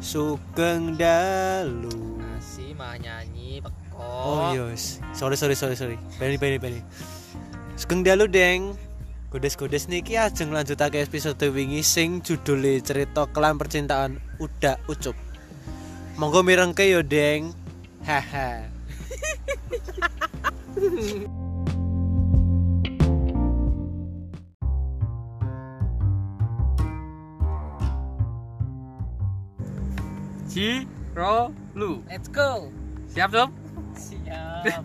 Sugeng Dalu. si mah nyanyi peko Oh, yos. Sorry sorry sorry sorry. Bali bali bali. Sugeng Dalu, Deng. Kodes-kodes niki ajeng lanjutake episode wingi sing judule cerita kelam percintaan Uda Ucup. Monggo mirengke yo, Deng. Haha. Ji Ro Lu let's go siap sob siap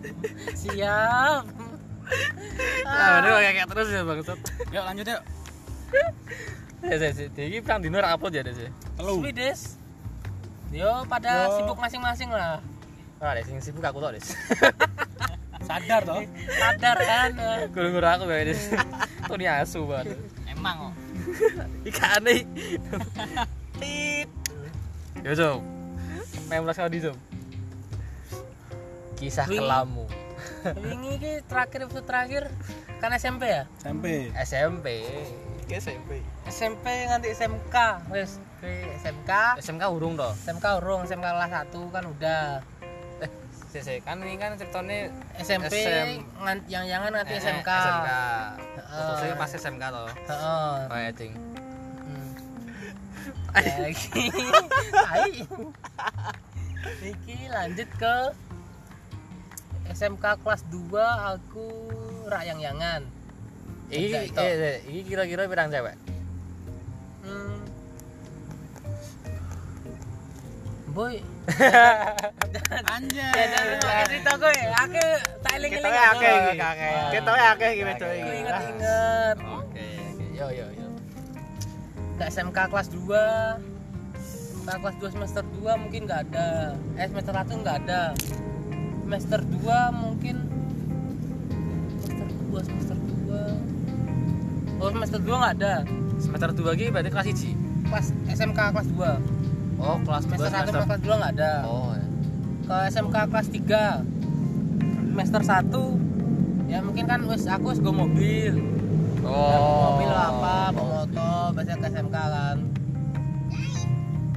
siap ah udah kayak terus ya bang sob Yuk lanjut yuk. ya sih sih ini perang dino rak upload ya deh sih Halo. Suwi, Des. yo pada Yo. sibuk masing-masing lah ah deh sing sibuk aku tau deh Sadar toh. sadar kan kurang kurang aku ya deh tuh dia asu banget Emang oh. kok. ikan nih tit ya sob main belas kali sob kisah Wih. kelamu ini ki terakhir episode terakhir kan SMP ya Sampai. SMP SMP. SMP nganti SMK wes ke SMK SMK urung toh SMK urung SMK kelas 1 kan udah sih sih kan ini kan ceritanya SMP SM. ngan, yang jangan nganti eh, eh, SMK SMK Heeh. Fokusnya pas SMK toh Heeh. oh ya ting Hmm. Ya, iki. Tai. Iki lanjut ke SMK kelas 2 aku rakyang-yangan. Iki, Enggak, itu. eh, eh, iki kira-kira pirang cewek? Hmm. Boy, Anjay. ya jangan pakai cerita gue ya. Aku tak eling-eling Ketoknya aku. Iya, akeh iki. Ketoknya akeh iki wedok Aku iki. inget-inget. Oke, oke. Yo yo yo. Nggak SMK kelas 2 SMK kelas 2 semester 2 mungkin nggak ada eh semester 1 nggak ada semester 2 mungkin semester 2 semester 2 oh semester 2 nggak ada Semester 2 iki berarti kelas 1. kelas SMK kelas 2 Oh, kelas 2 semester 1 semester. kelas 2 nggak ada Oh. ya. ke SMK kelas 3 semester 1 ya mungkin kan wis aku wis go mobil Oh. mobil apa mau motor biasanya ke SMK kan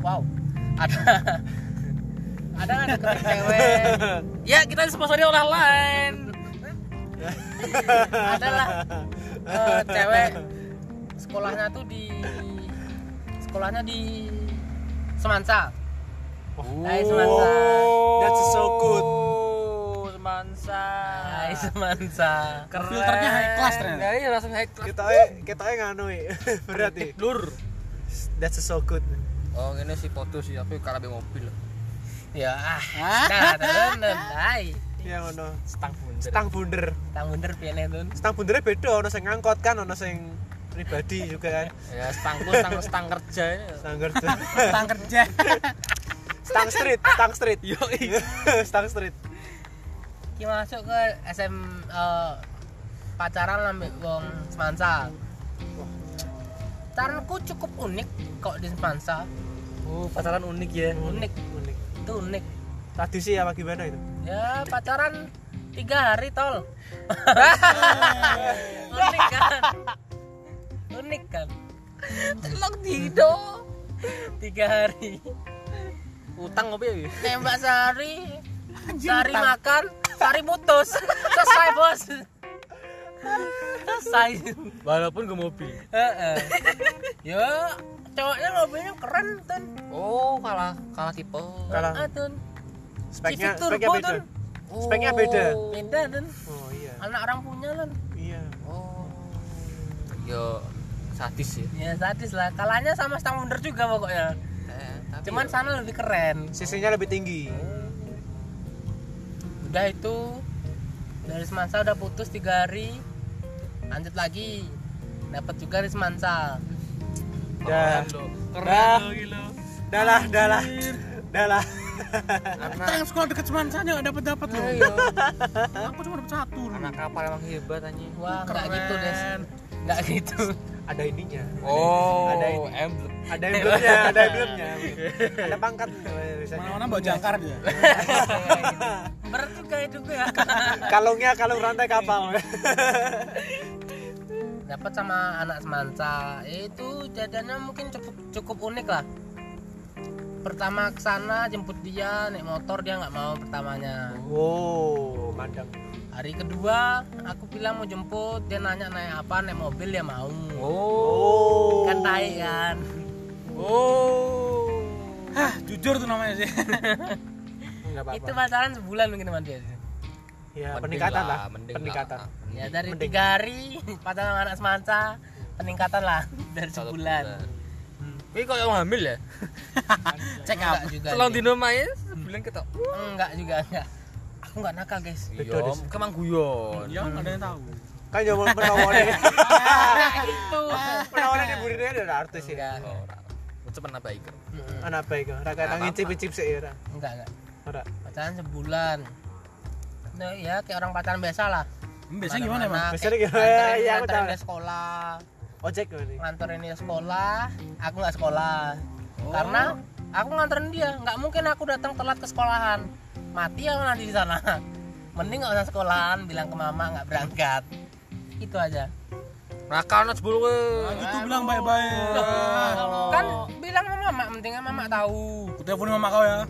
wow ada ada nggak deketin cewek Ya, kita disponsori oleh lain. adalah eh, cewek sekolahnya tuh di sekolahnya di Semansa Hai Semansa That's so good. Oh, Semansa. Hai Semansa Keren. Filternya high class ternyata. Ya, iya, langsung high class. Kita kita nganu eh. berat nih. Lur. That's so good. Oh, ini si foto sih, tapi karena mobil. ya ah nah tenan hai Ya ngono. Stang bunder. Stang bunder. tang bener piane tuh Stang bundernya beda, ono sing ngangkot kan, ono sing pribadi juga kan. Ya, stangku stang stang kerja ini. Stang kerja. Tentang kerja. Stang street, stang street. Yo. iya. stang street. ki masuk ke SM eh, pacaran sama wong Semansa. Pacaranku cukup unik kok di Semansa. Oh, pacaran unik ya. Unik, Unik. itu unik. Tradisi apa gimana itu? Ya pacaran tiga hari tol. unik kan? Unik kan? Telok dido. Tiga hari. Utang ngopi ya? Nembak sehari. Sehari makan, sehari putus. Selesai bos. Selesai. Walaupun gue mobil. Heeh. Yo, cowoknya mobilnya keren tuh. Oh, kalah kalah tipe. Kalah. Ah, Tun. Speknya, Civic speknya turbo, beda. Tun. Speknya beda. Beda Tun. Oh iya. Anak orang punya Tun. Iya. Oh. Yo sadis ya. Ya sadis lah. Kalahnya sama stang mundur juga pokoknya. Eh, tapi Cuman yo- sana lebih keren. Sisinya lebih tinggi. Udah itu dari Semansa udah putus tiga hari. Lanjut lagi. Dapat juga dari Semansa. Dah. Keren Oh, iya, lo. Dah. Keren lo gila. Dah lah, dah lah. Dah lah. Anak Kita yang sekolah dekat cuman saja nggak dapat dapat loh. ayo. Aku cuma dapat satu. loh. Anak kapal emang hebat anjing. Wah, nggak Keren. gitu, Des. Nggak gitu. Ada ininya. Ada Oh, ada ini. emblem. Ada emblemnya, ada emblemnya. ada pangkat Mana-mana bawa jangkar dia. Berat juga hidup ya. Kalungnya kalung rantai kapal. dapat sama anak semansa itu jadinya mungkin cukup cukup unik lah pertama ke sana jemput dia naik motor dia nggak mau pertamanya Wow, madam. hari kedua aku bilang mau jemput dia nanya naik apa naik mobil dia mau Oh. kan tai kan Oh. Hah, jujur tuh namanya sih. Enggak apa-apa. itu pacaran sebulan mungkin sama dia ya, Mending peningkatan lah, lah, mending peningkatan. lah. ya dari Mending. tiga hari pacaran sama anak semansa peningkatan lah dari Satu sebulan Hmm. Ini kok yang hamil ya? cek enggak juga Telung dia. dino main sebulan ketok. enggak juga enggak aku enggak nakal guys Beda, Iya, Des. kemang guyon. Ya, nggak ada yang tahu. Kan jaman penawone. nah itu Penawone di burine ada artis ya. Kan enggak Oh, ora. Itu pernah baik. Mm-mm. Anak baik, ora kaya tangi cip-cip sik ora. enggak enggak Ora. pacaran sebulan nah, ya kayak orang pacaran biasa lah Hmm, Biasanya gimana, Bang? Mana-mana, Biasanya kayak gimana? nganterin- Iya, aku nganterin tahu. dia sekolah Ojek ngene. nganterin dia sekolah aku nggak sekolah Oh. karena aku nganterin dia nggak mungkin aku datang telat ke sekolahan mati aku nanti di sana mending nggak usah sekolahan bilang ke mama nggak berangkat itu aja Nakal nang Nah, jebul kowe. Itu bilang bye-bye. kan bilang sama mama pentingnya mama tahu Aku telepon mama kau ya.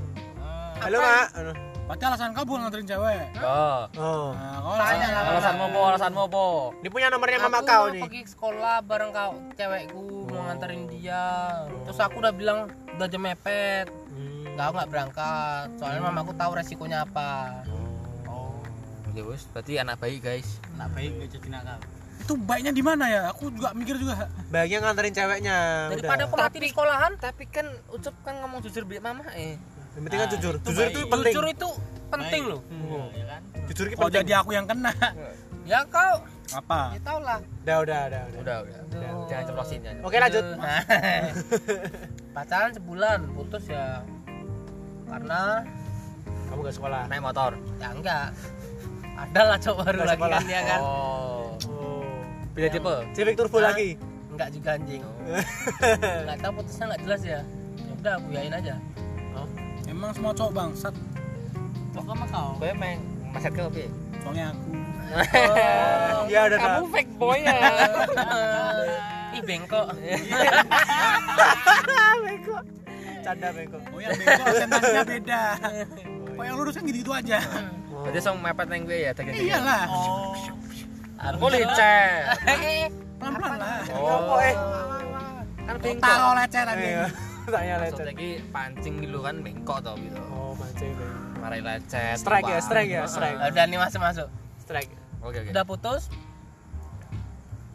Halo, Mak. Anu. Padahal alasan kau bukan nganterin cewek. Oh. Oh. Nah, kau alasannya Tanya lah. Alasanmu apa? Alasanmu apa? Ini punya nomornya mama aku kau nih. pergi ke sekolah bareng kau cewekku mau nganterin dia terus aku udah bilang udah jam mepet Hmm. nggak aku nggak berangkat soalnya mamaku tahu resikonya apa Ya wis, berarti anak baik, guys. nggak baik nggak jadi nakal itu baiknya di mana ya? Aku juga mikir juga. Baiknya nganterin ceweknya. daripada udah. aku mati di sekolahan Tapi kan Ucup kan ngomong jujur biar mama eh. Yang penting kan Nah, jujur. itu Jujur baik. itu penting. jujur itu penting loh Hmm. Ya kan? Jujur itu Kalau penting. jadi aku yang kena. ya kau Apa? ya tau lah Udah, udah, udah, udah. Udah, udah. Jangan ceplosin, jangan. Oke, lanjut. Nah, pacaran sebulan putus ya karena Kamu gak sekolah. Naik motor. ya enggak adalah cowok baru Nggak lagi sekolah. kan dia kan Oh. Oh. Beda tipe. Civic turbo Hah? lagi. enggak juga anjing Oh. nggak tahu putusnya nggak jelas ya ya udah aku yain aja Emang semua cowok bangsat. kok sama kau Kowe meng masak ke oke. Soalnya aku. Ya udah, udah. fake boy ya. ih bengkok Eh, Canda bengkok. Oh ya, bego presentasinya beda. Kok yang lurus kan gitu-gitu aja. Berarti song mepet nang kowe ya daging. Iya. Iyalah. Aku licet. eh, Pelan-pelan lah. Oh. Ngopo eh. Kan Otak bengkok. kau lecet tadi. Ayo. Tanya lecet. Maksudnya iki pancing gitu kan bengkok toh gitu. Oh, mancing. Bengkok. Mari lecet. Strike ya, Bang. strike ya, strike. udah nih masuk masuk Iya. Strike. Oke oke. udah putus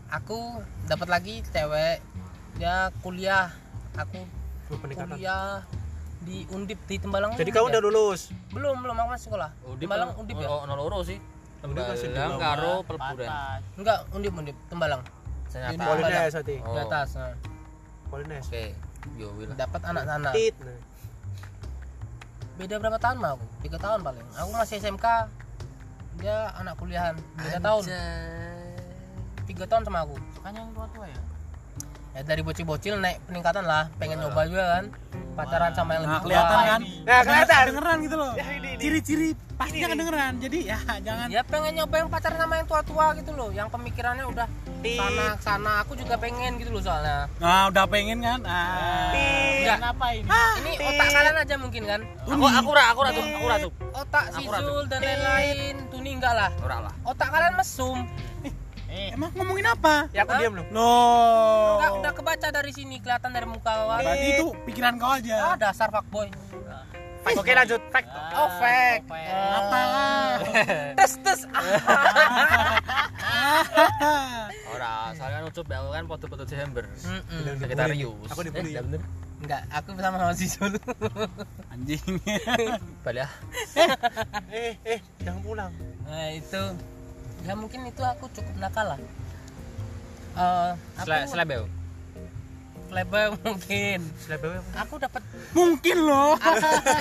aku dapat lagi cewek dia kuliah aku Oh, peningkatan. kuliah di Undip di Tembalang Jadi kamu ya? udah lulus. belum belum aku masih sekolah Udip Tembalang Undip ya Oh, ono loro sih. Undip masih di Tembalang bawah. karo pelburan. enggak Undip Undip Tembalang Ternyata. Ini- Polines tadi. Oh. di atas nah. Polines. Oke. Yo wih lah. dapat anak sana Tit. Nah. beda berapa tahun mah aku tiga tahun paling aku masih SMK dia anak kuliahan beda tahun tiga tahun sama aku Makanya yang tua-tua ya. ya dari bocil-bocil naik peningkatan lah pengen Iya. nyoba juga kan pacaran sama yang Nah, lebih kelihatan tua. Ya, kan? Nah, kelihatan. Dengeran gitu loh. Ciri-ciri pastinya kedengeran. Jadi ya jangan ya pengen nyoba yang pacaran sama yang tua-tua gitu loh yang pemikirannya udah sana sana aku juga pengen gitu loh soalnya Nah, udah pengen kan? Ah. enggak Kenapa ini? ini otak kalian aja mungkin kan Aku aku ra aku ra Cuk. aku ra Cuk. otak Aku ratu. Sizul dan lain-lain tuni enggak lah Ora lah. otak kalian mesum Emang ngomongin apa? Ya aku Hah? diam loh. Loh. enggak udah kebaca dari sini kelihatan dari muka kawan Berarti itu pikiran kau ah aja. dasar fuckboy Oke, lanjut. Fact. oh fake Apa? tes tes Ah. Ora, soalnya kan Ucup ya, aku kan foto-foto Desember. Hmm. Mm-mm. Sagittarius. Aku dibully. Eh, ya bener. enggak aku sama sama Sizul Anjing. Balik ah. Eh, eh, jangan pulang. Nah itu ya mungkin itu aku cukup nakal lah. Eh, Sele- aku Selebel. selebel mungkin. Selebel apa? Aku dapat Mungkin loh. ah.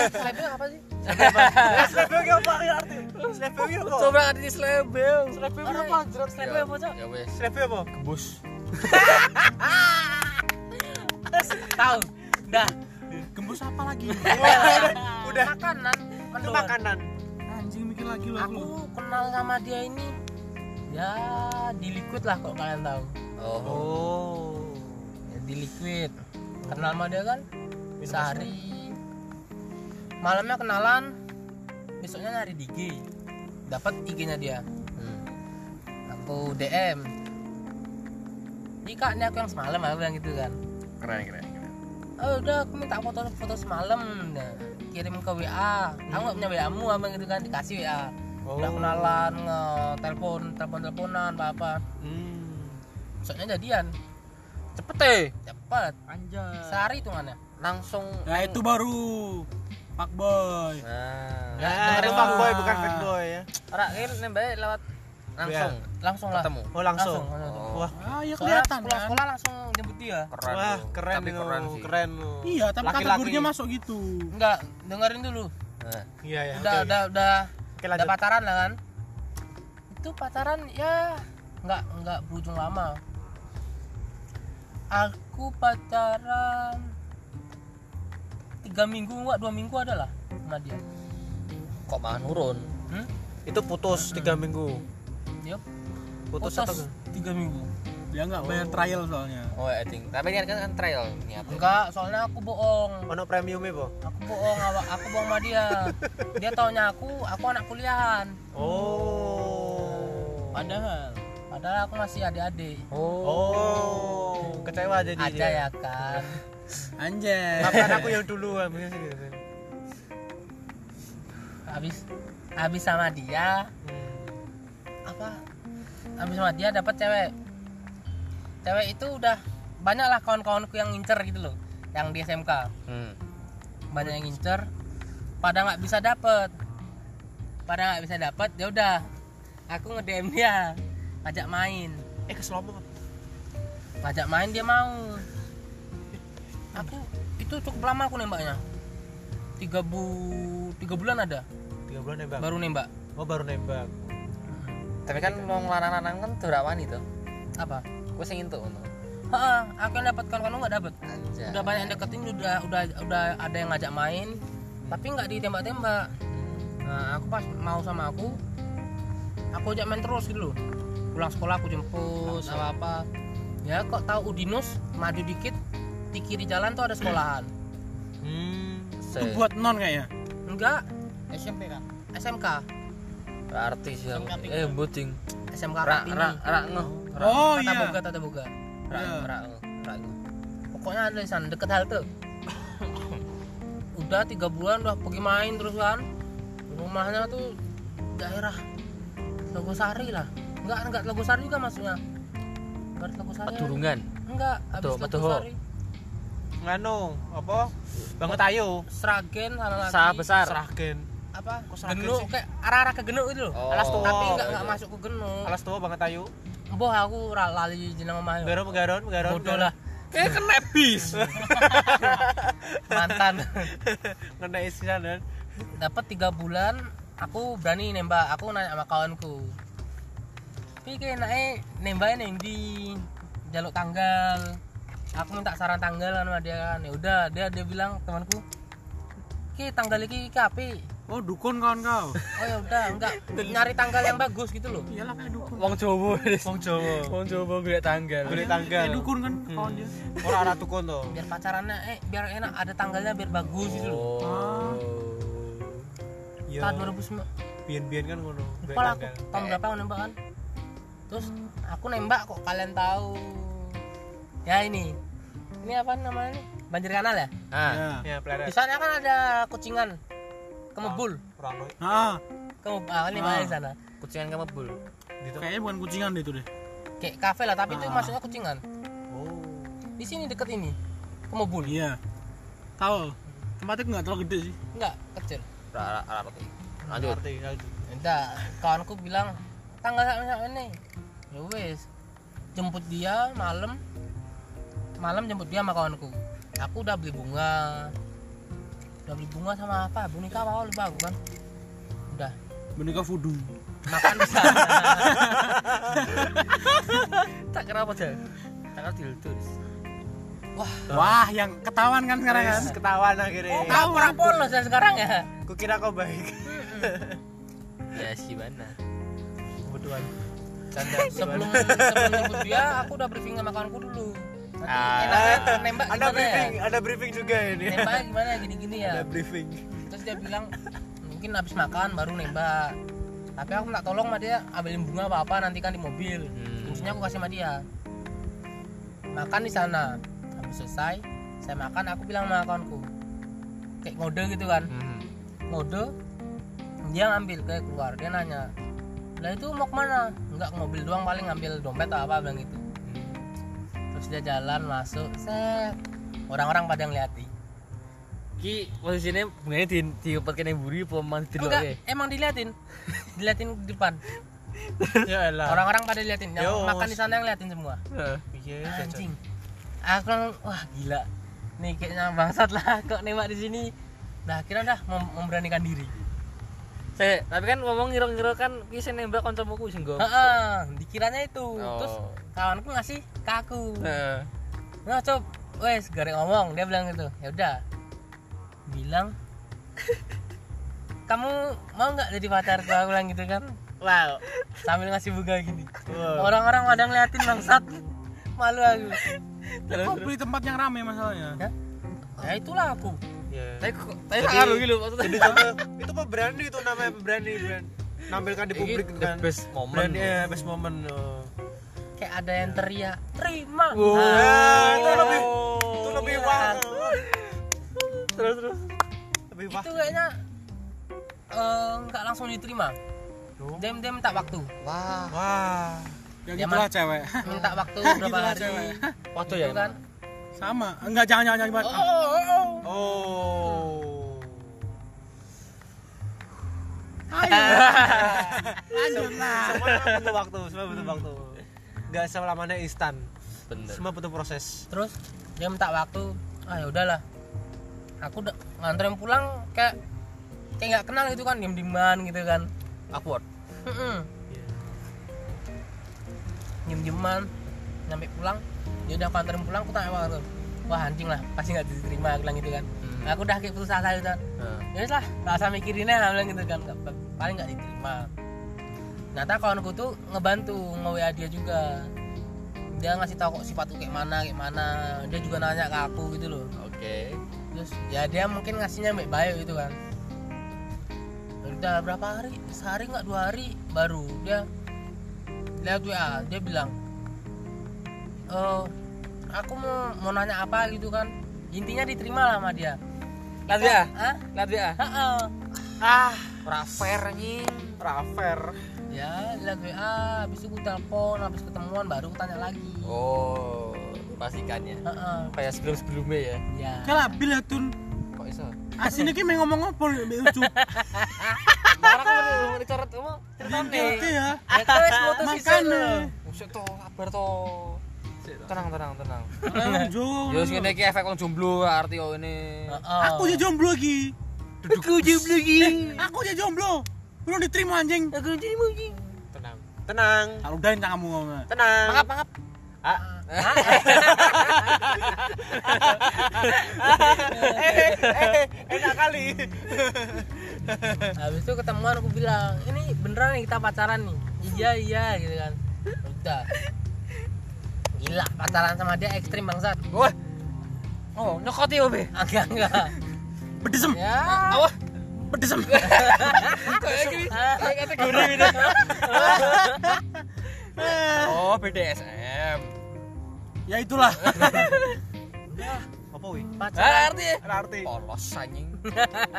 selebel apa sih? Selebel ki apa ya arti? Selebel ki apa? Coba ngerti selebel. Selebel Orang apa? Jeruk selebel apa cok? Ya wis. Selebel apa? Bus. Tahu. Dah. Gembus apa lagi? Udah. Makanan. Itu mendoan. makanan. Anjing mikir lagi loh. Aku kenal sama dia ini ya di liquid lah kok kalian tahu. Oh. Oh. Ya, di liquid. Kenal sama dia kan sehari malamnya kenalan besoknya nyari di IG dapat IG-nya dia Hmm. aku DM ini kak ini aku yang semalam aku bilang gitu kan keren keren keren oh udah aku minta foto foto semalam Nah, kirim ke WA aku nggak punya WA mu abang gitu kan dikasih WA udah kenalan nge-telepon telepon teleponan apa apa Hmm. besoknya jadian cepet eh cepet Anjay. sehari hitungannya langsung Nah itu baru Pak Boy. nah Ya, itu itu fuckboy bukan fanboy ya. ora ini nembak lewat langsung langsung lah ketemu Oh langsung. langsung. Wah, Ah ya Soalnya kelihatan pulang kan. sekolah langsung jemput dia keren wah lu. keren tapi lu, keren keren, sih lu. Iya, tapi Laki-laki. kategorinya masuk gitu. enggak dengerin dulu Nah, Iya ya. udah oke, udah udah oke. Oke, udah lanjut. pacaran lah kan itu pacaran ya nggak nggak berujung lama aku pacaran tiga minggu nggak dua minggu ada lah sama dia kok malah nurun hmm? Itu putus 3 minggu. dia Putus, atau enggak? tiga minggu Dia nggak bayar trial soalnya. oh I think tapi ini kan, kan trial ini apa enggak soalnya aku bohong Ono premiumnya, Bo? aku bohong awa- aku bohong sama dia dia taunya aku aku anak kuliahan Oh. padahal padahal aku masih adik-adik Oh, kecewa jadi. ada dia. ya kan Anjay. Maafkan aku yang dulu habis gitu. habis habis sama dia Hmm, apa habis sama dia dapat cewek cewek itu udah banyak lah kawan-kawanku yang ngincer gitu loh yang di SMK hmm. banyak yang ngincer pada nggak bisa dapet pada nggak bisa dapet ya udah aku nge DM dia ajak main Eh, keselompok. ngajak main dia mau aku itu cukup lama aku nembaknya tiga bu tiga bulan ada 3 bulan nembak. baru nembak Oh, baru nembak. tapi kan mau ngelarang-larang kan tuh rawan itu apa gue sing itu untuk Heeh, aku yang dapat kawan kawan nggak dapat anjay udah banyak yang deketin udah udah udah ada yang ngajak main tapi nggak ditembak tembak nah aku pas mau sama aku aku ajak main terus gitu loh pulang sekolah aku jemput apa apa ya kok tahu Udinus maju dikit di kiri jalan tuh ada sekolahan Hmm. Itu buat non kayaknya. enggak SMP kan SMK artis ya eh buting SMK rak Kartini. rak rak ngeh Oh Tata Boga, iya. Tata Boga. rak Iya. rak ngeh, rak ngeh. Pokoknya ada di sana deket halte. udah tiga bulan udah pergi main terus kan. Rumahnya tuh daerah Logosari lah. Enggak enggak Logosari juga maksudnya. Enggak ada Logosari. Pedurungan Enggak, habis Betul, betul. Logosari. Nganu, apa? Banget ayo. Sragen sana lagi. sah besar Seragen. Apa? Kok Sragen Genuk sih? kayak arah-arah ke Genuk itu loh. Oh. Alas tuh, tapi enggak Iya, enggak iya. masuk ke Genuk. Alas tua banget ayo. Boh aku ra- lali jeneng omah. Garon, garon, garon. Bodoh lah. kayak kena bis Mantan. Ngena istilah dan. dapat tiga bulan aku berani nembak aku nanya sama kawanku tapi kayak naik nembaknya neng di jaluk tanggal aku minta saran tanggal sama dia kan ya udah dia dia bilang temanku ki tanggal ini kape Oh dukun kawan kau. oh ya udah enggak nyari tanggal yang bagus gitu loh Iyalah kayak dukun. Iya, wong Jawa wis. Wong Jawa. wong Jawa gue tanggal Boleh Kayak tanggal. dukun kan kawan dia. Orang arah tukun tuh. biar pacarannya eh biar enak ada tanggalnya biar bagus gitu loh oh Iya. tahun 2009 Bien-bien kan ngono. Golek Kepala aku tanggal. tahun berapa aku nembak kan? Terus aku nembak kok kalian tahu. Ya ini. Ini apa namanya? nih? Banjir kanal ya? ah Ya. Ya, Di pelajaran. sana kan ada kucingan. Kemebul. Orang Ah, Kemebul. Ah, ini mana di sana? kucingan kamu bul gitu. kayaknya bukan kucingan deh itu deh. Kayak kafe lah, tapi itu Ah. masuknya kucingan. Oh. Di sini deket ini. Kemebul. Iya. Tahu. Tempatnya nggak terlalu gede sih. Enggak, kecil. rak rak rak rak. lanjut Ngerti, lanjut. Entah, kawanku bilang tanggal sama sama ini. Ya wes. Jemput dia malam. Malam jemput dia sama kawanku. Aku udah beli bunga. Udah beli bunga sama apa? Boneka apa lupa aku kan. Udah Boneka voodoo. makan di sana. tak kenapa aja tanggal dildo Wah, yang ketahuan kan sekarang kan. Terus ketahuan akhirnya. Oh, kamu orang polos ya sekarang ya. Kukira kau baik. ya si mana Kebetulan. Canda. Sebelum sebelum jemput dia, aku udah briefing sama kawanku dulu. Nanti Ah. enaknya nembak Ada gimana ya? briefing, ada briefing juga ini. Nembaknya gimana gini-gini ya. Ada briefing. Terus dia bilang mungkin habis makan baru nembak tapi aku minta tolong sama dia ambilin bunga apa apa nanti kan di mobil Hmm. kuncinya aku kasih sama dia makan di sana habis selesai saya makan aku bilang sama kawanku kayak ngode gitu kan Hmm. ngode dia ngambil ke keluar dia nanya lah itu mau kemana nggak ke mobil doang paling ngambil dompet atau apa bilang gitu Hmm. terus dia jalan masuk set orang-orang pada ngeliatin Ki posisinya bunganya di di kepet kene mburi apa mang di enggak iya. emang diliatin diliatin di depan Ya elah. orang-orang pada liatin yang Yo. makan di sana yang liatin semua Iya, anjing aku langsung, wah gila nih kayaknya bangsat lah kok nembak di sini nah akhirnya dah mem- memberanikan diri Saya tapi kan ngomong ngira-ngira kan ki sing nembak kancamu sing Oh. go. Heeh, dikiranya itu terus Oh. kawanku ngasih ke aku Eh. Heeh. nah coba wes gak ada yang ngomong dia bilang gitu ya udah bilang kamu mau nggak jadi pacarku aku bilang gitu kan Wow. sambil ngasih bunga gini Wow. orang-orang pada ngeliatin bangsat malu aku Kok beli tempat yang rame masalahnya? ya, ya itulah aku Ya. Tapi kok- tapi Jadi- sakar lho maksudnya. Jadi contoh, itu pemberani itu namanya pemberani brand. Nampilkan di publik Ini the kan. best moment. Brand ya best moment. oh. kayak ada yang teriak terima Ah, itu lebih itu lebih Iya. wow. Terus terus. Lebih wah. itu kayaknya eh, nggak langsung diterima dia, dia minta waktu Wah. Wah. Ya Ya, Mas. gitulah cewek. minta waktu Gitu Hah, berapa gitulah hari cewek. Waduh gitu ya. kan Kan? Sama. Enggak jangan jangan oh, jangan. oh, oh, oh. Oh. Semua butuh waktu, semua butuh waktu. Gak selamanya instan. Bener. Semua butuh proses. terus dia minta waktu ah ya udahlah aku udah nganterin pulang kayak kayak nggak kenal gitu kan diem dieman gitu kan Awkward. Mm-mm. diem dieman nyampe pulang dia udah aku anterin pulang aku tanya sama orang tuh, wah anjing lah pasti nggak diterima aku bilang gitu kan Hmm. aku udah kayak putus asa gitu kan ya wis lah nggak usah mikirinnya lah bilang gitu kan Nggak- paling nggak diterima ternyata kawanku tuh ngebantu nge WA dia juga dia ngasih tahu kok sifatku kayak mana kayak mana dia juga nanya ke aku gitu loh Oke. terus ya dia mungkin ngasihnya baik baik gitu kan udah berapa hari sehari nggak dua hari baru dia lihat WA dia bilang eh aku mau mau nanya apa gitu kan intinya diterima lah sama dia "Ah, Lihat dia. Hah? Lihat dia. Heeh. Ah, Ora fair anjing. rafer. ya lihat WA habis itu aku telepon habis ketemuan baru aku tanya lagi Oh, pastikannya. Heeh. Kayak sebelum-sebelumnya ya. ya Kalah bila tun. Ah, Kok iso? Asin iki meh ngomong ngopo mbek ucu. Barang kan mau dicoret mau ceritane. Oke ya. ya kau wes putus isan Makane. loh. Usik to, sabar to. Tenang, tenang, tenang. Orang jowo. Yo sing ngene iki efek wong jomblo arti yo ini. Heeh. Aku aja jomblo lagi. Aku jomblo iki. Aku aja jomblo. Belum diterima anjing. Ah, aku ya, jadi mungkin Tenang. Tenang. Kalau udahin tanganmu ngomong. Tenang. Mangap, mangap. Enak kali. habis itu ketemuan aku bilang ini beneran nih kita pacaran nih iya iya gitu kan udah gila pacaran sama dia ekstrim bangsat Wah. Oh, nyokoti yo be. enggak enggak Bedesem, ya Awas. bedesem. Kayak gini, Ah. kayak kategori gitu. Oh, BDSM. ya itulah. Apa wi? Ah, pacaran arti ya. Arti. Polos anjing.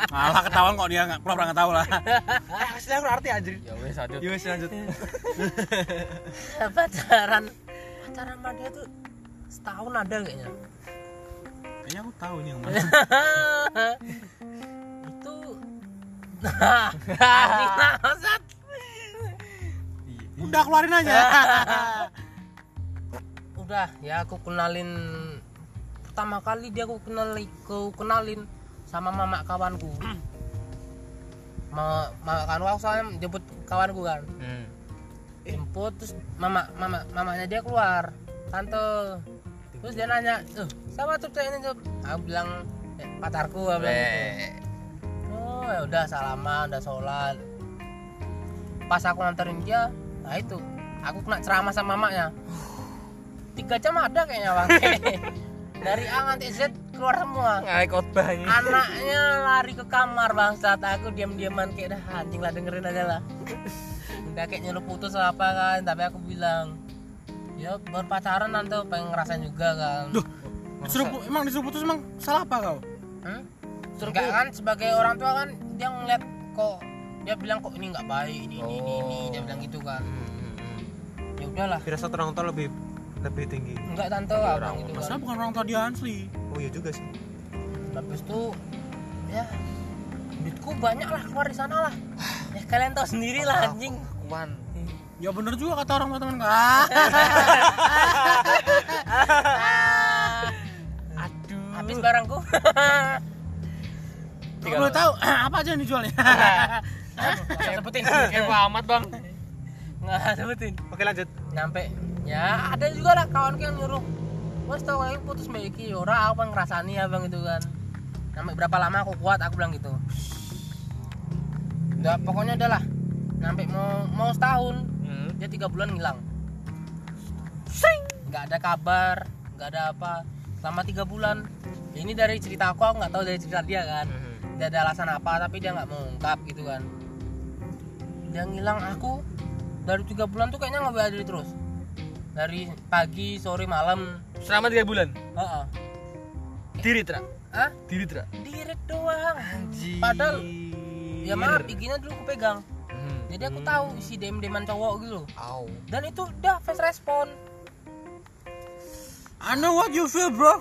Alah ketahuan kok dia enggak pura-pura enggak tahu lah. Eh, asli aku arti anjir. Ya wes lanjut. Yowes lanjut. pacaran pacaran sama dia tuh setahun ada kayaknya Kayaknya aku tahu ini yang mana. itu nah anjing bangsat Udah keluarin aja. udah ya aku kenalin pertama kali dia aku kenal aku kenalin sama mama kawanku mama, mama kawanku aku soalnya jemput kawanku kan Hmm. jemput terus mama mama mamanya dia keluar tante terus dia nanya tuh siapa tuh cewek ini tuh aku bilang "Eh, pacarku aku bilang gitu. Weh. oh ya udah salaman udah sholat pas aku nganterin dia nah itu aku kena ceramah sama mamanya tiga jam ada kayaknya bang dari A nanti Z keluar semua Ngalek khotbahnya. anaknya lari ke kamar bangsat aku diam-diaman kayak dah anjing lah dengerin aja lah udah kayak nyuruh putus lah apa kan tapi aku bilang ya baru pacaran nanti pengen ngerasain juga kan Duh, disuruh pu- emang disuruh putus emang salah apa kau? hmm? Enggak kan sebagai orang tua kan dia ngeliat kok dia bilang kok ini nggak baik ini ini ini, ini dia bilang gitu kan Hmm, ya udahlah Firasat orang tua lebih lebih tinggi. enggak tante aku bilang gitu Masalah kan bukan orang tua dia Hansli. Oh iya juga sih. habis itu ya duitku banyak lah keluar di sana lah ya kalian tahu sendiri lah anjing Kuman. Ya bener juga kata orang teman kak. Aduh. habis barangku Kalau boleh tahu eh, apa aja yang ya. dijualnya? Nggak sebutin Kepo amat, eh, Bang. nggak sebutin Oke lanjut. nyampe ya ada juga lah kawan yang nyuruh wes tau kayak putus mbak Iki ora aku pengen ngerasani abang gitu kan sampai berapa lama aku kuat aku bilang gitu nggak pokoknya udah lah sampai mau mau setahun Hmm. dia tiga bulan hilang nggak ada kabar nggak ada apa selama tiga bulan ini dari cerita aku aku nggak tahu dari cerita dia kan Hmm. tidak ada alasan apa tapi dia nggak mau ungkap gitu kan dia ngilang aku dari tiga bulan tuh kayaknya nggak dari terus dari pagi sore malam Selama 3 bulan. Heeh. Diri tra. ah Diri tra. dirit doang Anjir. Padahal, ya maaf giginya dulu aku pegang Hmm. jadi aku tahu isi dem deman cowok gitu loh Au. dan itu udah fast respon I know what you feel bro.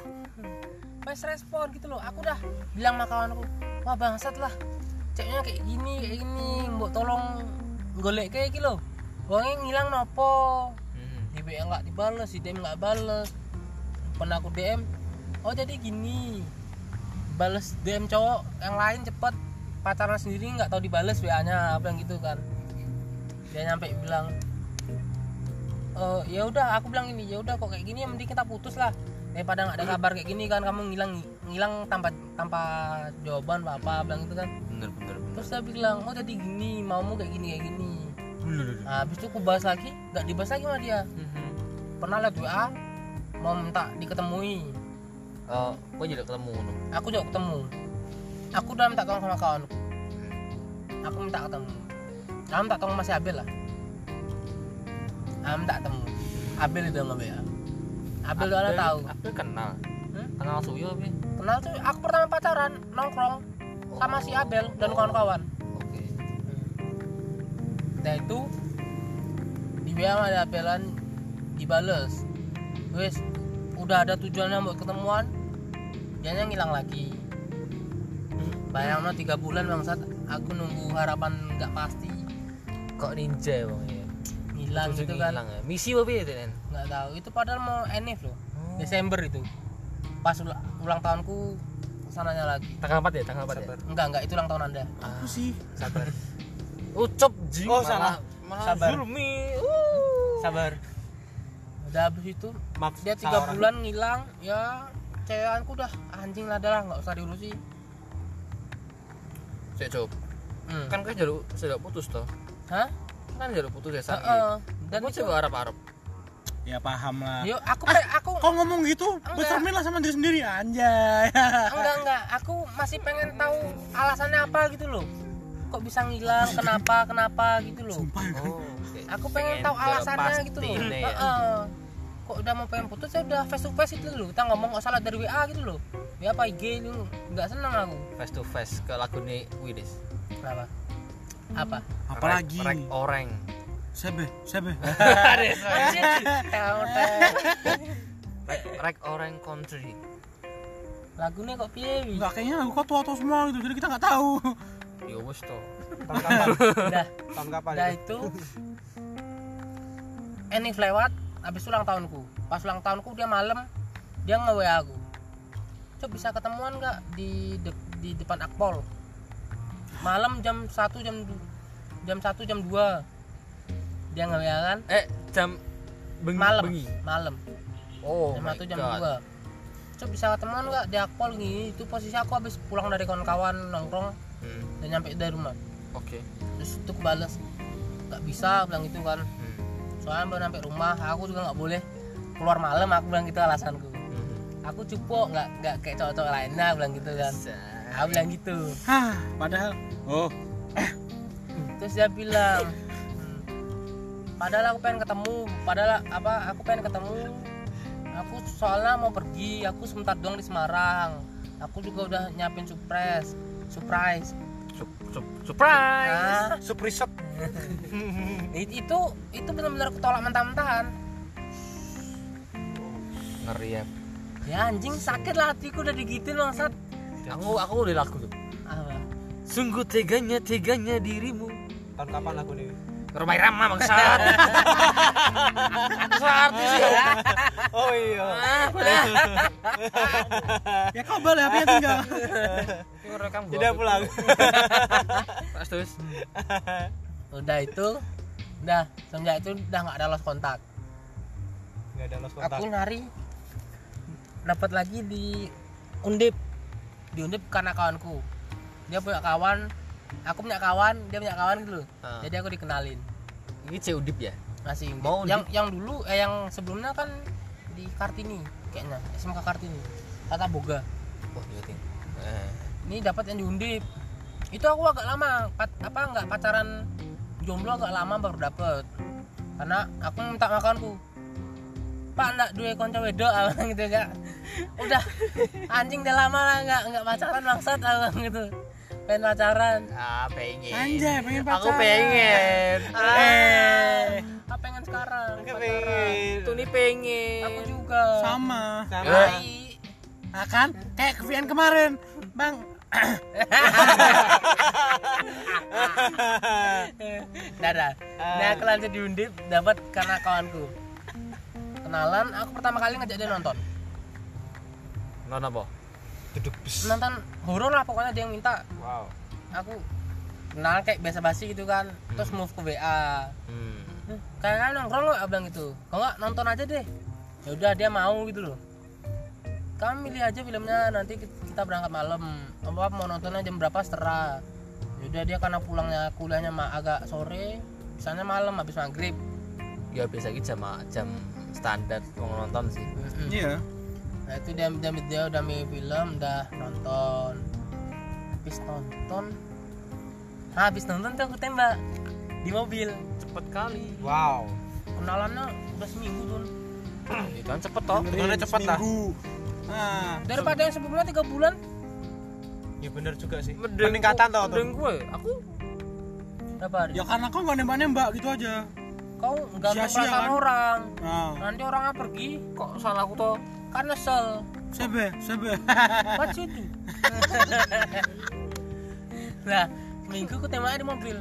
fast respon gitu loh aku udah bilang sama kawanku wah bangsat lah ceknya kayak gini kayak gini mbok tolong golek kayak gitu loh uangnya ngilang nopo Hmm. di WA nggak dibales di DM nggak bales pernah aku DM oh jadi gini bales DM cowok yang lain cepet pacaran sendiri nggak tahu dibales WA nya apa yang gitu kan dia nyampe bilang "Eh, ya udah aku bilang ini ya udah kok kayak gini ya mending kita putus lah daripada nggak ada kabar kayak gini kan kamu ngilang ngilang tanpa tanpa jawaban apa apa bilang gitu kan Bener bener. terus dia bilang oh jadi gini maumu kayak gini kayak gini nah, habis itu aku bahas lagi nggak dibahas lagi sama dia pernah lihat WA mau minta diketemui Oh, kok jadi ketemu no? aku juga ketemu aku udah minta tolong sama kawanku aku minta ketemu aku minta tolong masih Abel lah aku minta ketemu Abel itu yang ya. nge-WA Abel udah lah tahu Aku kenal. Hmm? Kenal Suyo tapi. kenal tuh aku pertama pacaran nongkrong sama si Abel dan kawan-kawan Oke. Nah itu di WA ada apelan dibales. Wes udah ada tujuannya buat ketemuan, dianya ngilang lagi. Bayangno tiga bulan bangsat, aku nunggu harapan nggak pasti Kok ninja ya, Bang ya? hilang Susu gitu kan, hilang ya. Misi apa ya, Tenen? nggak tahu. Itu padahal mau enif loh, Desember itu. Pas ula- ulang tahunku sananya lagi. Tanggal 4 ya, tanggal 4 ya. Enggak enggak itu ulang tahun anda. Apa sih? Sabar. Ucap jing. Oh, salah. Malah Sabar. Zulmi. Uh. Sabar. Udah habis itu Maaf. dia tiga salah orang. bulan ngilang ya cewekanku dah anjing lah dah lah, nggak usah diurusi Cek Job. hmm. Kan kan jalur sudah putus toh. hah Kan jalur putus ya sakit. Heeh. dan Dan gua itu coba Arab-Arab. Ya paham lah. yo aku Ah. pe- aku Kau ngomong gitu, Enggak. bercermin lah sama diri sendiri anjay. enggak enggak aku masih pengen tahu alasannya apa gitu loh kok bisa ngilang kenapa kenapa gitu loh Sumpah kan. Oh, oke. aku pengen tahu jalan alasannya pasti gitu loh nih ya. Heeh. kok udah mau pengen putus ya udah face to face itu loh kita ngomong nggak salah dari wa gitu loh ya apa ig lu nggak seneng aku Face to face ke lagune Widis. kenapa apa Apalagi Rek oreng. Sebe, sebe. Rek oreng country. lagu nih kok piye Wi? Enggak kayaknya lagu kau tua-tua semua gitu, jadi kita nggak tahu. Ya wis toh. Tahun kapan? udah Tahun kapan? Udah itu Enif lewat habis ulang tahunku. Pas ulang tahunku dia malam dia nge-WA aku. Cuk bisa ketemuan nggak di de- di depan Akpol? Malam jam 1 jam du- jam 1 jam 2. Dia nge-WA kan Eh, jam bengi malam. bengi. Malam Oh, jam my 1 jam God. 2. Cuk bisa ketemuan nggak di Akpol gini? Itu posisi aku habis pulang dari kawan-kawan nongkrong Hmm, dan nyampe dari rumah. Oke. Terus itu kebales nggak bisa bilang gitu kan Hmm. Hmm. soalnya baru sampai rumah aku juga nggak boleh keluar malam aku bilang gitu alasanku aku cupu nggak nggak kayak cowok-cowok lain nah aku bilang gitu kan aku bilang gitu Hah, padahal oh terus dia bilang padahal aku pengen ketemu padahal apa aku pengen ketemu aku soalnya mau pergi aku sebentar doang di Semarang aku juga udah nyiapin surprise surprise surprise nah, Suprisep. it- itu itu benar-benar aku tolak mentah-mentahan ngeri ya ya anjing sakit lah hatiku udah digituin langsat aku aku udah lagu tuh apa sungguh teganya teganya dirimu Tahun kapan lagu ini? Rumah Irama bangsat bangsat sih Oh iya. ah udah ya kau balik HP-nya tinggal Ini rekam gua. Tidak pulang. Terus, terus udah itu udah semenjak itu udah nggak ada lost kontak Enggak ada lost kontak. aku nari dapat lagi di undip di undip karena kawanku dia punya kawan aku punya kawan dia punya kawan gitu loh. Ah. jadi aku dikenalin ini cudip ya masih Undip. Mau Undip? yang yang dulu eh yang sebelumnya kan di kartini kayaknya SMK kartini tata boga wah iya ting Eh, ini dapat yang di undip itu aku agak lama pat- apa nggak pacaran jomblo agak lama baru dapet karena aku minta makanku pak ndak duwe konco wedok abang gitu kak udah anjing udah lama lah nggak nggak pacaran maksud abang gitu pengen pacaran ah pengen Anjay, pengen aku pacaran. pengen Eh. ah, ah, pengen sekarang Enggak pacaran pengen. tuh nih pengen aku juga sama Sama. Hai. nah, kan kayak kevian kemarin bang Nah, nah. Nah, aku lanjut di Undip dapat karena kawanku. Kenalan, aku pertama kali ngajak dia nonton. non apa Duduk bis. Nonton horor lah pokoknya dia yang minta. Wow. Aku kenal kayak biasa basi gitu kan. Terus move ke WA. hmm. "Hm, Kayaknya nongkrong lo abang gitu. Kalau nggak nonton aja deh. Ya udah dia mau gitu loh. Kamu milih aja filmnya nanti ki- kita berangkat malam. Apa mau nontonnya jam berapa setera. Ya udah dia karena pulangnya kuliahnya ma- agak sore, misalnya malam habis maghrib. ya biasa gitu jam jam standar mau nonton sih Mm-mm. iya Hmm. Nah itu dia, dia, dia udah milih film, udah nonton Habis nonton Nah habis nonton tuh aku tembak Di mobil cepet kali Wow. Kenalannya udah seminggu tuh itu kan cepet toh Benernya cepat lah. nah Daripada yang sebelumnya 3 bulan Ya bener juga sih. Mending- Peningkatan tau tuh. mending gue ya? aku Berapa hari? ya karena kau nggak nembak nembak gitu aja Kau nggak Sia-sia ngerasa sama kan? orang nah Nanti orangnya pergi kok salah aku toh kan nyesel sebe sebe What you do? Nah seminggu aku tembaknya di mobil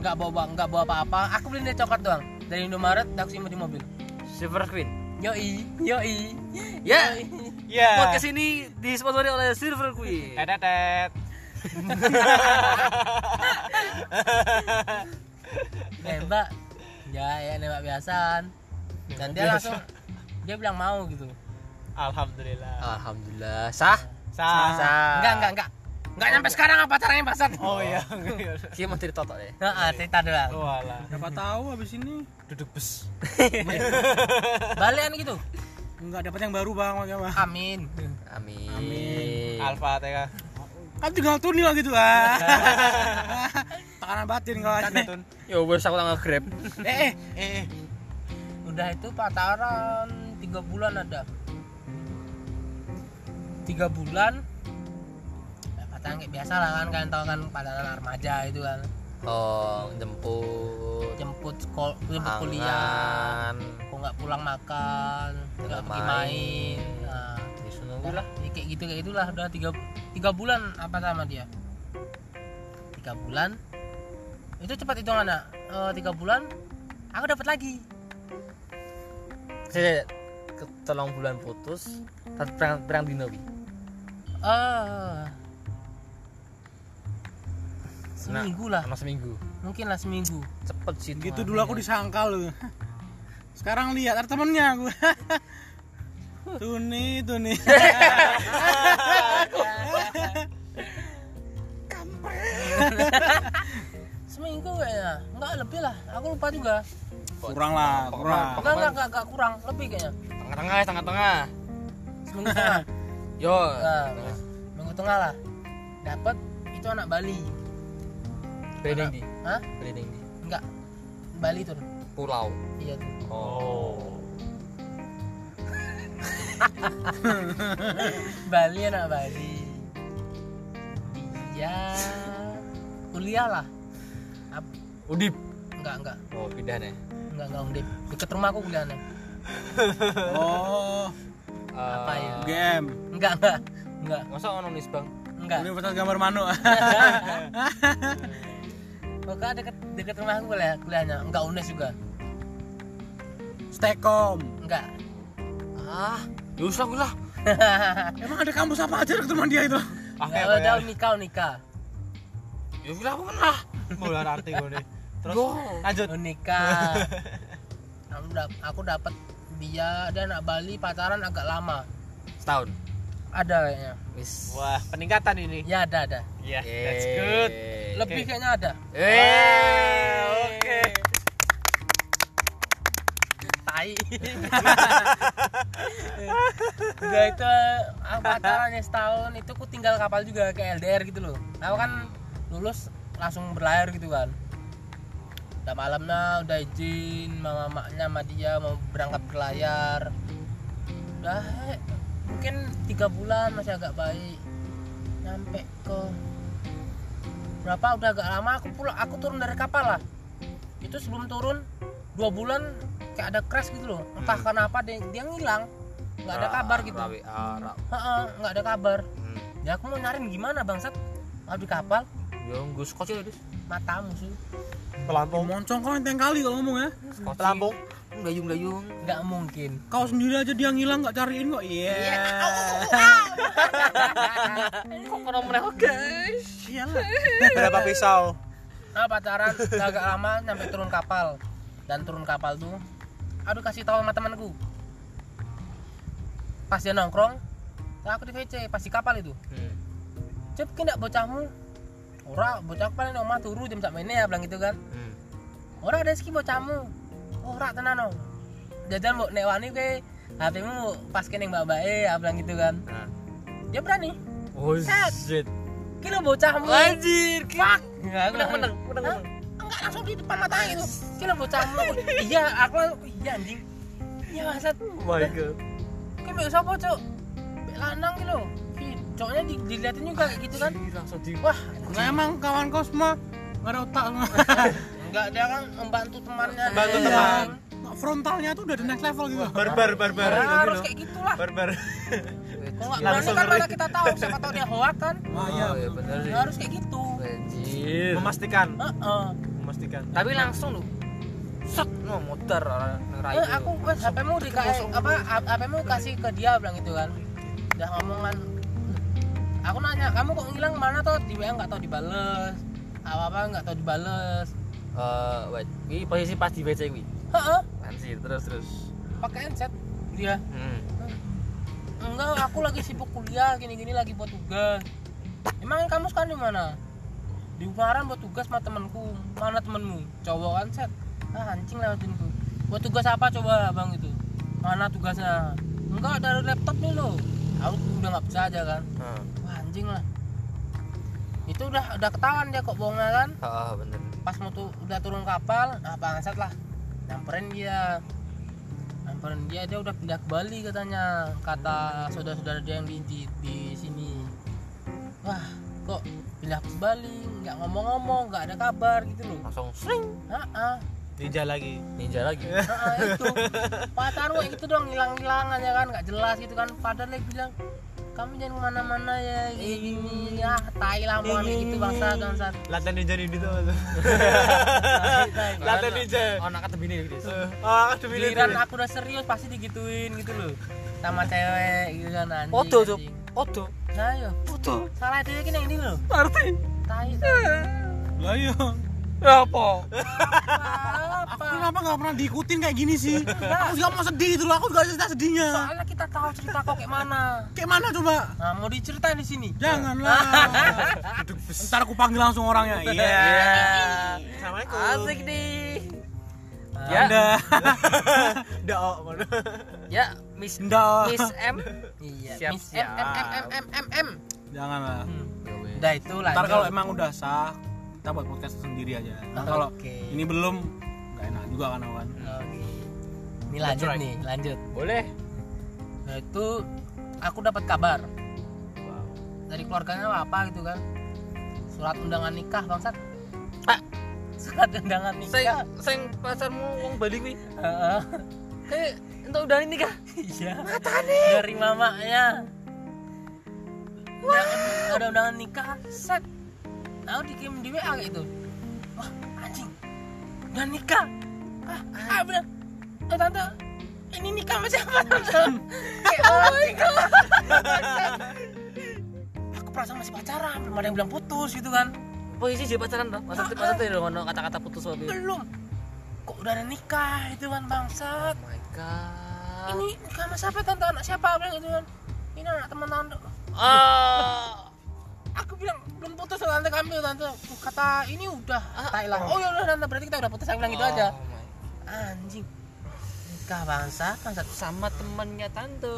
Nggak bawa, nggak bawa apa-apa Aku beli dia coklat doang Dari Indomaret, aku simpen di mobil Silver Queen Yoi, yoi, Ya. Yoi. Iya. podcast ini disponsori oleh Silver Queen Tetetet. nembak ya ya nembak biasaan dan dia langsung dia bilang mau gitu Alhamdulillah. alhamdulillah sah Sah. sah enggak enggak enggak enggak nyampe sekarang apa caranya pasar Oh iya. dia mau cerita toh deh nah ah, cerita doang Walah. siapa tahu abis ini Duduk bis. balian gitu nggak dapat yang baru bang makanya bang amin amin, Iya. Alfa TK. kan tinggal tunil lah gitu ah tekanan batin kau aja Tun. ya wes aku tanggal grab eh eh Eh. eh. udah itu pacaran tiga bulan ada tiga bulan ya, pacaran kayak biasa lah kan kalian tahu kan pacaran remaja itu kan oh jemput jemput sekolah jemput kuliah kok nggak pulang makan nggak pergi main, main. Nah, disuruh udah lah ya kayak gitu kayak itulah udah tiga tiga bulan apa sama dia tiga bulan itu cepat hitungan nak Eh, tiga bulan aku dapat lagi saya tolong bulan putus tapi perang perang dino Wi. eh Nah, seminggu lah sama seminggu mungkin lah seminggu cepet sih gitu dulu aku disangkal loh sekarang lihat ada temennya aku tuni tuni seminggu kayaknya nggak lebih lah aku lupa juga kurang lah kurang nggak nggak nggak, nggak kurang lebih kayaknya tengah tengah tengah tengah minggu setengah Yo. nah, minggu tengah lah dapat itu anak Bali Branding di. Hah? Branding di. enggak Bali tuh Pulau. iya tuh Oh. Bali anak Bali dia kuliah lah Ap- Udip. enggak enggak Oh, pindah nih. enggak enggak undip deket rumahku kuliahnya Oh, Apa ya? game. enggak enggak enggak Eh, Masa ono nis, Bang? enggak Universitas Gambar Manu. Pokoknya deket deket rumahku kuliah kuliahnya enggak unes juga Stekom. enggak Ah, ya wis lah, wis lah. Emang ada kampus apa aja dekat rumah dia itu? Ah, enggak kayak ada bayar. nikah nikah Ya wis lah, aku kan lah. Bulan arti gue nih. Terus Yo. lanjut. Oh, nikah aku, dap- aku dapat dia dia anak Bali pacaran agak lama Setahun. ada kayaknya Wis. Wah, peningkatan ini. ya ada ada Iya, that's good. lebih kayaknya ada Eh, Oke. tai udah itu aku pacaran ya setahun itu aku tinggal kapal juga ke LDR gitu loh aku kan lulus langsung berlayar gitu kan udah malamnya udah izin sama mamanya sama dia mau berangkat berlayar udah eh, mungkin tiga bulan masih agak baik nyampe ke berapa udah agak lama aku pulang aku turun dari kapal lah itu sebelum turun dua bulan kayak ada crash gitu loh entah Hmm. kenapa dia, dia ngilang nggak ada kabar gitu Rawi, ah, ra- Heeh, nggak ada kabar hmm. ya aku mau nyariin gimana bangsat mau di kapal Yo nggo scotch ya, Dis. matamu sih Pelampung. Moncong kau enteng kali kalau ngomong ya. Scotch. Pelampung. Hmm, Dayung-dayung. nggak mungkin Kau sendiri aja dia ngilang nggak cariin kok. Iya. Kok kono meneh kok, guys. Iyalah. Berapa pisau? nah pacaran udah agak lama nyampe turun kapal dan turun kapal tuh aduh kasih tahu sama temanku pas dia nongkrong nah, aku di VC pas di kapal itu Hmm. cep kena bocahmu ora bocah paling di omah turu jam sak mene ya bilang gitu kan Hmm. ora ada ski bocahmu ora tenan no jajan mbok nek wani kowe HP-mu pas kening mbak mbak eh bilang gitu kan Nah. dia berani Oh, Set. shit. kilo bocahmu Anjir, fuck. Nggak, aku Menang, langsung- menang, menang, Hah? menang. enggak langsung di depan mata gitu kilo bocahmu iya aku langsung iya anjing iya maksud My god. kan mbak siapa cok mbak lanang kilo Ih, cowoknya di- diliatin juga kayak gitu kan Ih, langsung di wah Nah, emang kawan kau semua nggak ada otak semua. enggak dia kan membantu temannya Membantu Iya. teman. Nah, Frontalnya tuh udah the next level gitu. Barbar, barbar. Ya, harus kayak gitulah Barbar. Kalau nggak berani Langsung kan ngeri. mana kita tahu siapa tahu dia hoak kan. Wah, iya. ya bener Ya, sih. harus kayak gitu. Anjir. Memastikan, Heeh. memastikan. Tapi langsung lu. Set, no motor orang nang rai. Eh, aku wes HP-mu dikasih apa HP-mu kasih ke dia bilang gitu kan. Udah ngomongan. Aku nanya, kamu kok ngilang kemana toh? Di WA nggak tahu dibales. Apa-apa nggak tahu dibales. Eh, wait. Ini posisi pas di WC kuwi. Heeh, Anjir, terus terus. pakai Iya. headset. Dia, Hmm. enggak, aku lagi sibuk kuliah gini-gini lagi buat tugas. Emang kamu sekarang di mana? Di Ungaran buat tugas sama temanku. Mana temenmu? Cowok kan, set. Ah, anjing lewatin tuh. Buat tugas apa coba, Bang itu? Mana tugasnya? Enggak, dari laptop nih lo. Aku udah nggak bisa aja kan. Heeh. Wah, anjing lah. Itu udah udah ketahuan dia kok bohongnya kan. Heeh, ah, bener. Pas mau tu- udah turun kapal, ah bangsat lah. Nyamperin dia. Nyamperin dia dia udah pindah ke Bali katanya. Kata Ah, saudara-saudara dia yang di, di, di sini. Wah, kok pindah ke Bali, nggak ngomong-ngomong, nggak ada kabar gitu loh. Langsung sering Heeh. Ninja lagi. ninja lagi. Heeh, itu pacar kayak gitu dong hilang-hilang aja kan nggak jelas gitu kan padahal dia bilang kamu jangan kemana-mana ya gini ya tai lah mau kayak gitu bangsa bangsa Latihan ninja ini tuh. Tai, tai. Latihan ninja. Anak ketebine iki, Dis. Ah, aduh ini. giliran aku udah serius pasti digituin gitu loh sama cewek gitu kan anjing Odo, Cuk. anjing. Odo. nah yo Odo. salah itu kan yang ini loh Arti. tai tai. Lah iya. Apa? Aku apa kenapa nggak pernah diikutin kayak gini sih? Aku juga mau sedih itu loh. Aku juga ada cerita sedihnya. soalnya kita tahu cerita kok kayak mana Kayak mana coba? nah mau diceritain di sini Janganlah. Ntar aku panggil langsung orangnya. Iya. Assalamualaikum. Asik nih. Nah, Ya. Anda. Dah, oh, mana? Ya, Miss Ndak. Miss M. Iya. Siap, Miss siap. M M M M M M. Jangan lah. Hmm. Ya Udah itu lah. Ntar kalau emang udah sah, kita buat podcast sendiri aja. Nah, kalau Oke. ini belum, nggak enak juga kan kawan. Oke. Ini lanjut That's right. nih, lanjut. Boleh. Nah, itu aku dapat kabar dari keluarganya apa gitu kan. Surat undangan nikah, Bangsat. Ah. Surat undangan Sing nikah. sing pacarmu wong Bali kuwi. Heeh. Kayak entuk udah ini kah? Iya. Dari mamanya. Wah. Ada undangan nikah, set. Aku dikirim di WA gitu. Wah, anjing. Udah nikah. Ah, ah bener. Eh tante, ini nikah sama siapa tante? Kayak orang nikah. Aku perasaan masih pacaran, belum ada yang bilang putus gitu kan. Posisi dia pacaran toh. Ah, Masa ah. masa tidak ngono kata-kata putus wae. Belum. Kok udah ada nikah itu kan bangsat. Oh my god. Ini nikah sama siapa tante? Anak siapa bilang gitu kan. Ini anak teman tante. Ah. aku bilang belum putus sama tante kami tante Tuh, kata ini udah tak hilang oh ya udah tante berarti kita udah putus aku bilang gitu Oh aja my anjing nikah bangsa kan satu sama temannya tante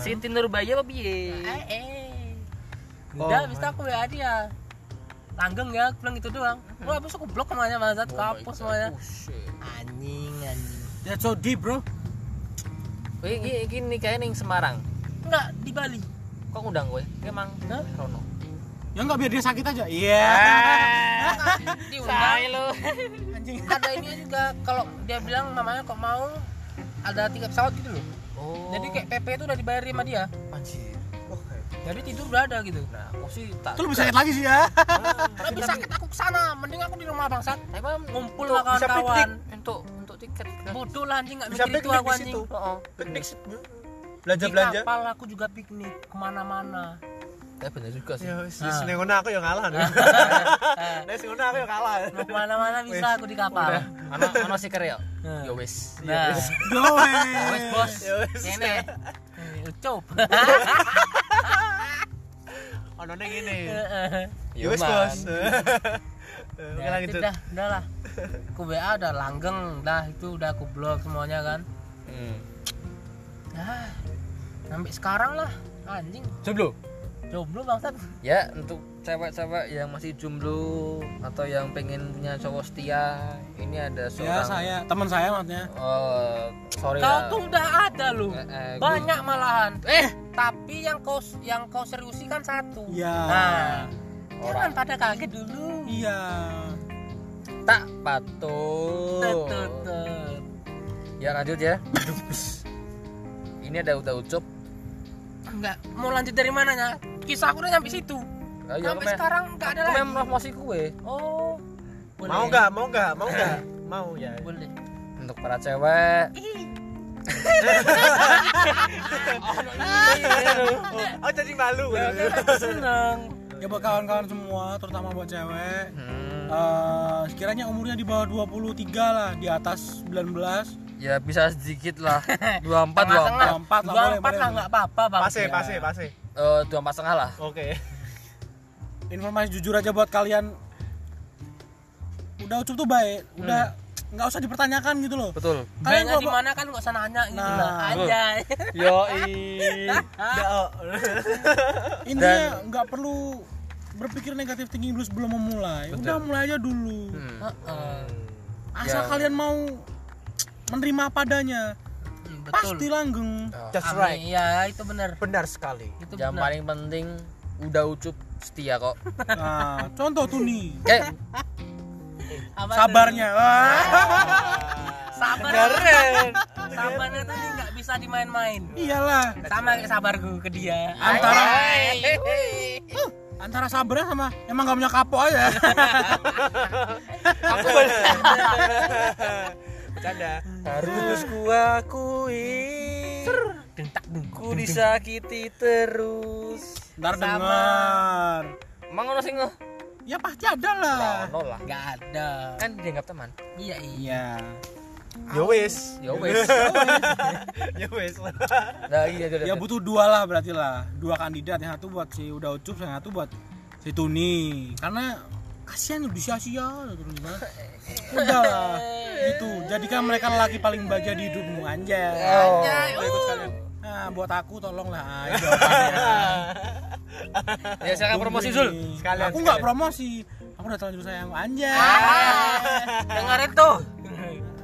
Siti Nurbaya apa piye eh eh udah habis itu aku ya dia langgeng ya aku bilang gitu doang wah habis aku blok semuanya bangsa aku hapus semuanya anjing anjing That's so deep Ya, bro. kowe iki iki nikahe ning Semarang enggak di Bali kok ngundang kowe Ki emang Hah? Rono Ya nggak biar dia sakit aja. Iya. diundang lu anjing ada ini juga kalau dia bilang mamanya kok mau ada tiga pesawat gitu loh oh jadi kayak PP itu udah dibayar sama dia anjir jadi tidur udah ada gitu nah aku sih tak Ah, Itu lebih sakit lagi sih ya. Tapi sakit aku kesana, mending aku di rumah bangsat. emang Ngumpul lah kawan-kawan. untuk untuk tiket kan? Bodoh lah anjing nggak Bisa mikir itu piknik aku di anjing. situ. oh Piknik Di belanja belanja. kapal aku juga piknik kemana-mana. tapi bener juga sih Ya wis, wis, ning ngono aku yang kalah. Nek Nek sing ngono aku yang kalah. Mau kemana-mana bisa aku di kapal. ana ana si kereo Nah. yo wis Nah, Go wes away. bos, Ya wis. ini ucup. Ono ning ngene. Ya Yo, wis, Man. Bos. Eh, Oke Ya, lanjut. itu dah, udah lah. Aku WA udah langgeng, dah itu udah aku blok semuanya kan. Hmm. Dah, sampai sekarang lah anjing. jomblo Jomblo bangsat. ya untuk cewek-cewek yang masih jomblo atau yang pengen punya cowok setia ini ada Ya seorang saya, teman saya maksudnya. oh sorry Ya. Kau lah. tuh udah ada loh. Eh, eh, gua- Banyak malahan. eh tapi yang kau yang kau seriusi kan satu Iya. nah jangan Orang. pada kaget dulu Iya. tak patut Tut, tut. ya lanjut ya ini ada udah ucup enggak mau lanjut dari mananya kisah aku udah nyampe situ Iya, ayo sampai sekarang enggak ada lagi mem promosi kue oh boleh Mau enggak? Mau enggak? Mau enggak? Mau ya. Eh, boleh untuk para cewek Ih, Oh jadi malu. aku seneng Ya buat kawan-kawan semua, terutama buat cewek. Hmm, Eh, sekiranya umurnya di bawah 23 lah, di atas 19, ya bisa sedikit lah dua empat dua tengah-tengah dua empat lah, dua empat boleh, boleh, lah boleh. nggak apa-apa bang Ya. Pase, pase, pase. eh, dua empat setengah lah Oke. informasi jujur aja buat kalian udah ucup tuh baik Hmm. udah nggak usah dipertanyakan gitu loh betul kalian Kayaknya kalau di mana kan nggak usah nanya gitu Nah. lah aja. yo Enggak, oh. intinya nggak perlu berpikir negatif tinggi belum belum memulai udah mulai aja dulu Hmm. asal Ya. kalian mau menerima padanya Hmm, Betul. pasti langgeng That's Amin. right. Iya, itu benar. Benar sekali. Itu yang benar. paling penting udah ucup setia kok nah contoh tuh nih eh Apa tuh? sabarnya Wah, Sabar. Keren. Sabarnya tuh nih nggak bisa dimain-main. iyalah sama kayak sabarku ke dia Antara- Hai. Huh, antara sabarnya sama emang gak punya kapok aja aku boleh Bercanda. harus kuakui dentak dengku ku disakiti terus ntar dengar emang ono sing ngono ya pasti ada lah Ono lah nggak ada kan dianggap teman iya iya iya Yo wis. ya wes Ya wis. nah iya iya, iya. ya butuh dua lah berarti lah dua kandidat yang satu buat si udah ucup yang satu buat si tuni karena kasihan lu sia-sia lu terus gimana. udah lah gitu jadikan mereka lelaki paling bahagia di hidupmu anjay Udah ikut sekalian. nah buat aku Ah, tolonglah ayo jawabannya. ya silakan promosi Zul Tungguin. Sekalian, aku nggak sekalian. promosi aku udah terlanjur sayang anjay dengerin tuh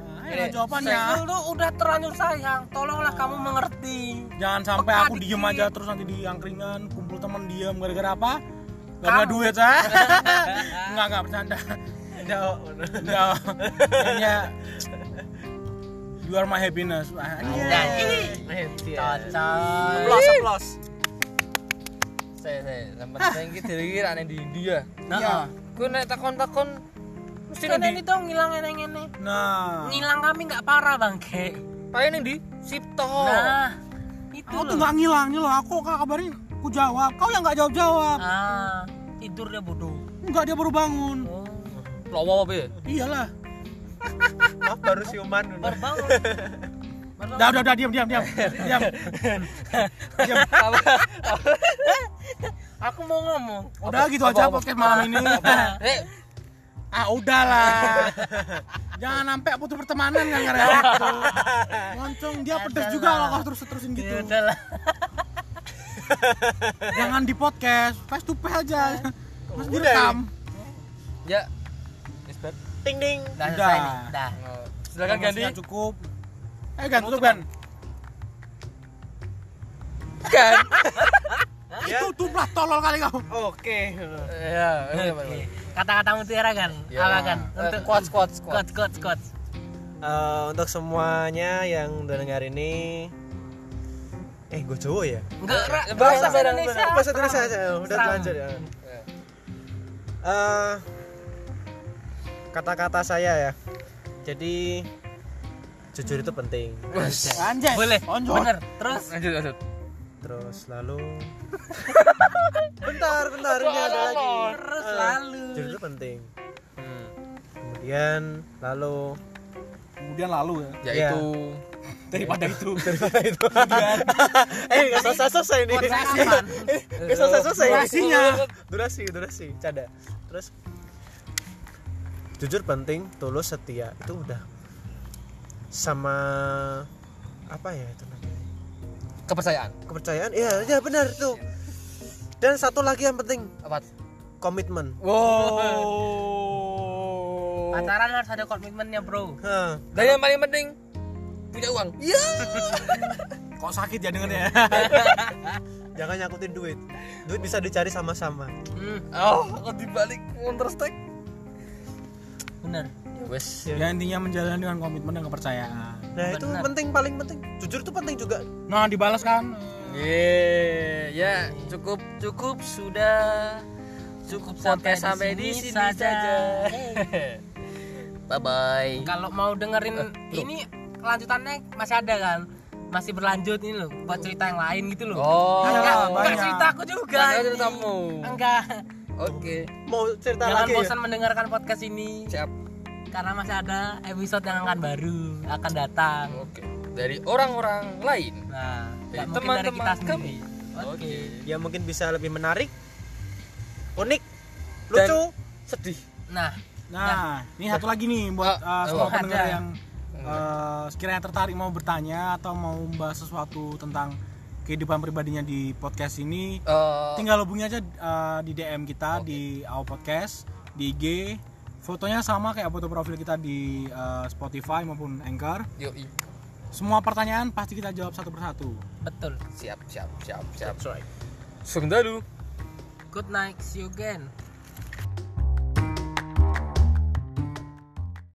Ah, ayo jawabannya Saya dulu udah terlanjur sayang tolonglah kamu mengerti jangan sampai Peka aku diem dikit. aja terus nanti di angkringan kumpul temen diem gara-gara apa gak ada Kamu. duit ah nggak nggak bercanda no ya you are my happiness Ah, iya. dan anjay ini Eh, cocok Plus, plus. saya saya sampai saya ini diri aneh di India Nah, ah. Iya. gue naik takon takon mesti Mesti nanti ini tuh ngilang ini nah ngilang kami nggak parah bangke paling nih di Sipto nah itu aku tuh loh nggak ngilang nih loh aku kak kabarin aku jawab kau yang nggak jawab jawab ah tidur dia bodoh nggak dia baru bangun oh lowo apa ya iyalah Maaf, baru siuman dulu. berbangun udah udah udah diam diam diam diam aku mau ngomong udah gitu aja podcast malam ini eh ah udahlah jangan sampai putus pertemanan kan karena itu ngoncong dia pedes juga kalau kau terus terusin gitu ya udahlah jangan di podcast face to face aja terus direkam ya Isbat Ting ding. dah Udah. selesai nih dah Nah. silakan ganti Promosinya cukup eh gan tutup gan kan itu tuplah tolol kali kau Oke. ya Oke. kata-kata mutiara kan Iya. apa kan untuk Eh, kuat kuat kuat kuat kuat kuat Eh, untuk semuanya yang udah dengar ini Eh, gue cowok ya? enggak Ra. bahasa Indonesia. Bahasa Indonesia aja, udah Serang. lanjut ya. Eh, kata-kata saya ya. Jadi jujur itu penting. anjay boleh onjol bener terus lanjut lanjut Terus lalu Bentar, bentar, ini ada lagi. Eh, terus lalu Hmm. Jujur itu penting. Kemudian lalu kemudian lalu ya yaitu daripada itu daripada itu. eh, enggak selesai-selesai nih. aman Enggak selesai-selesai. durasinya durasi durasi canda terus jujur penting tulus setia itu udah sama apa ya itu namanya kepercayaan kepercayaan iya ya benar tuh dan satu lagi yang penting apa komitmen wow pacaran harus ada komitmennya bro Hah. dan yang paling penting punya uang iya kok sakit ya dengernya jangan nyakutin duit duit bisa dicari sama-sama hmm, oh aku dibalik counter strike bener wes ya intinya menjalani dengan komitmen dan kepercayaan nah itu Benar. penting paling penting jujur itu penting juga nah dibalas kan Yeay, ya cukup cukup sudah cukup sampai sampai di sini saja. bye bye. kalau mau Eh, dengerin ini lanjutannya masih ada kan masih berlanjut ini loh buat cerita yang lain gitu loh Oh, enggak, enggak banyak. cerita aku juga Banyak ini. ceritamu. enggak Oke, mau cerita jangan lagi ya? bosan mendengarkan podcast ini siap. karena masih ada episode yang akan baru akan datang Oke, dari orang-orang lain, nah nggak mungkin dari dari kita teman-teman sendiri kami. oke ya mungkin bisa lebih menarik unik lucu Sedih. nah Nah, ini satu lagi nih buat Ah, uh, semua oh, pendengar ada. yang uh, sekiranya tertarik mau bertanya atau mau membahas sesuatu tentang kehidupan pribadinya di podcast ini, Eh, tinggal hubungi aja uh, di DM kita di Ao Podcast, di IG. Fotonya sama kayak foto profil kita di uh, Spotify maupun Anchor. yoi. Semua pertanyaan pasti kita jawab satu persatu. betul Siap, siap, siap, siap. That's right. Sungguh dulu. good night see you again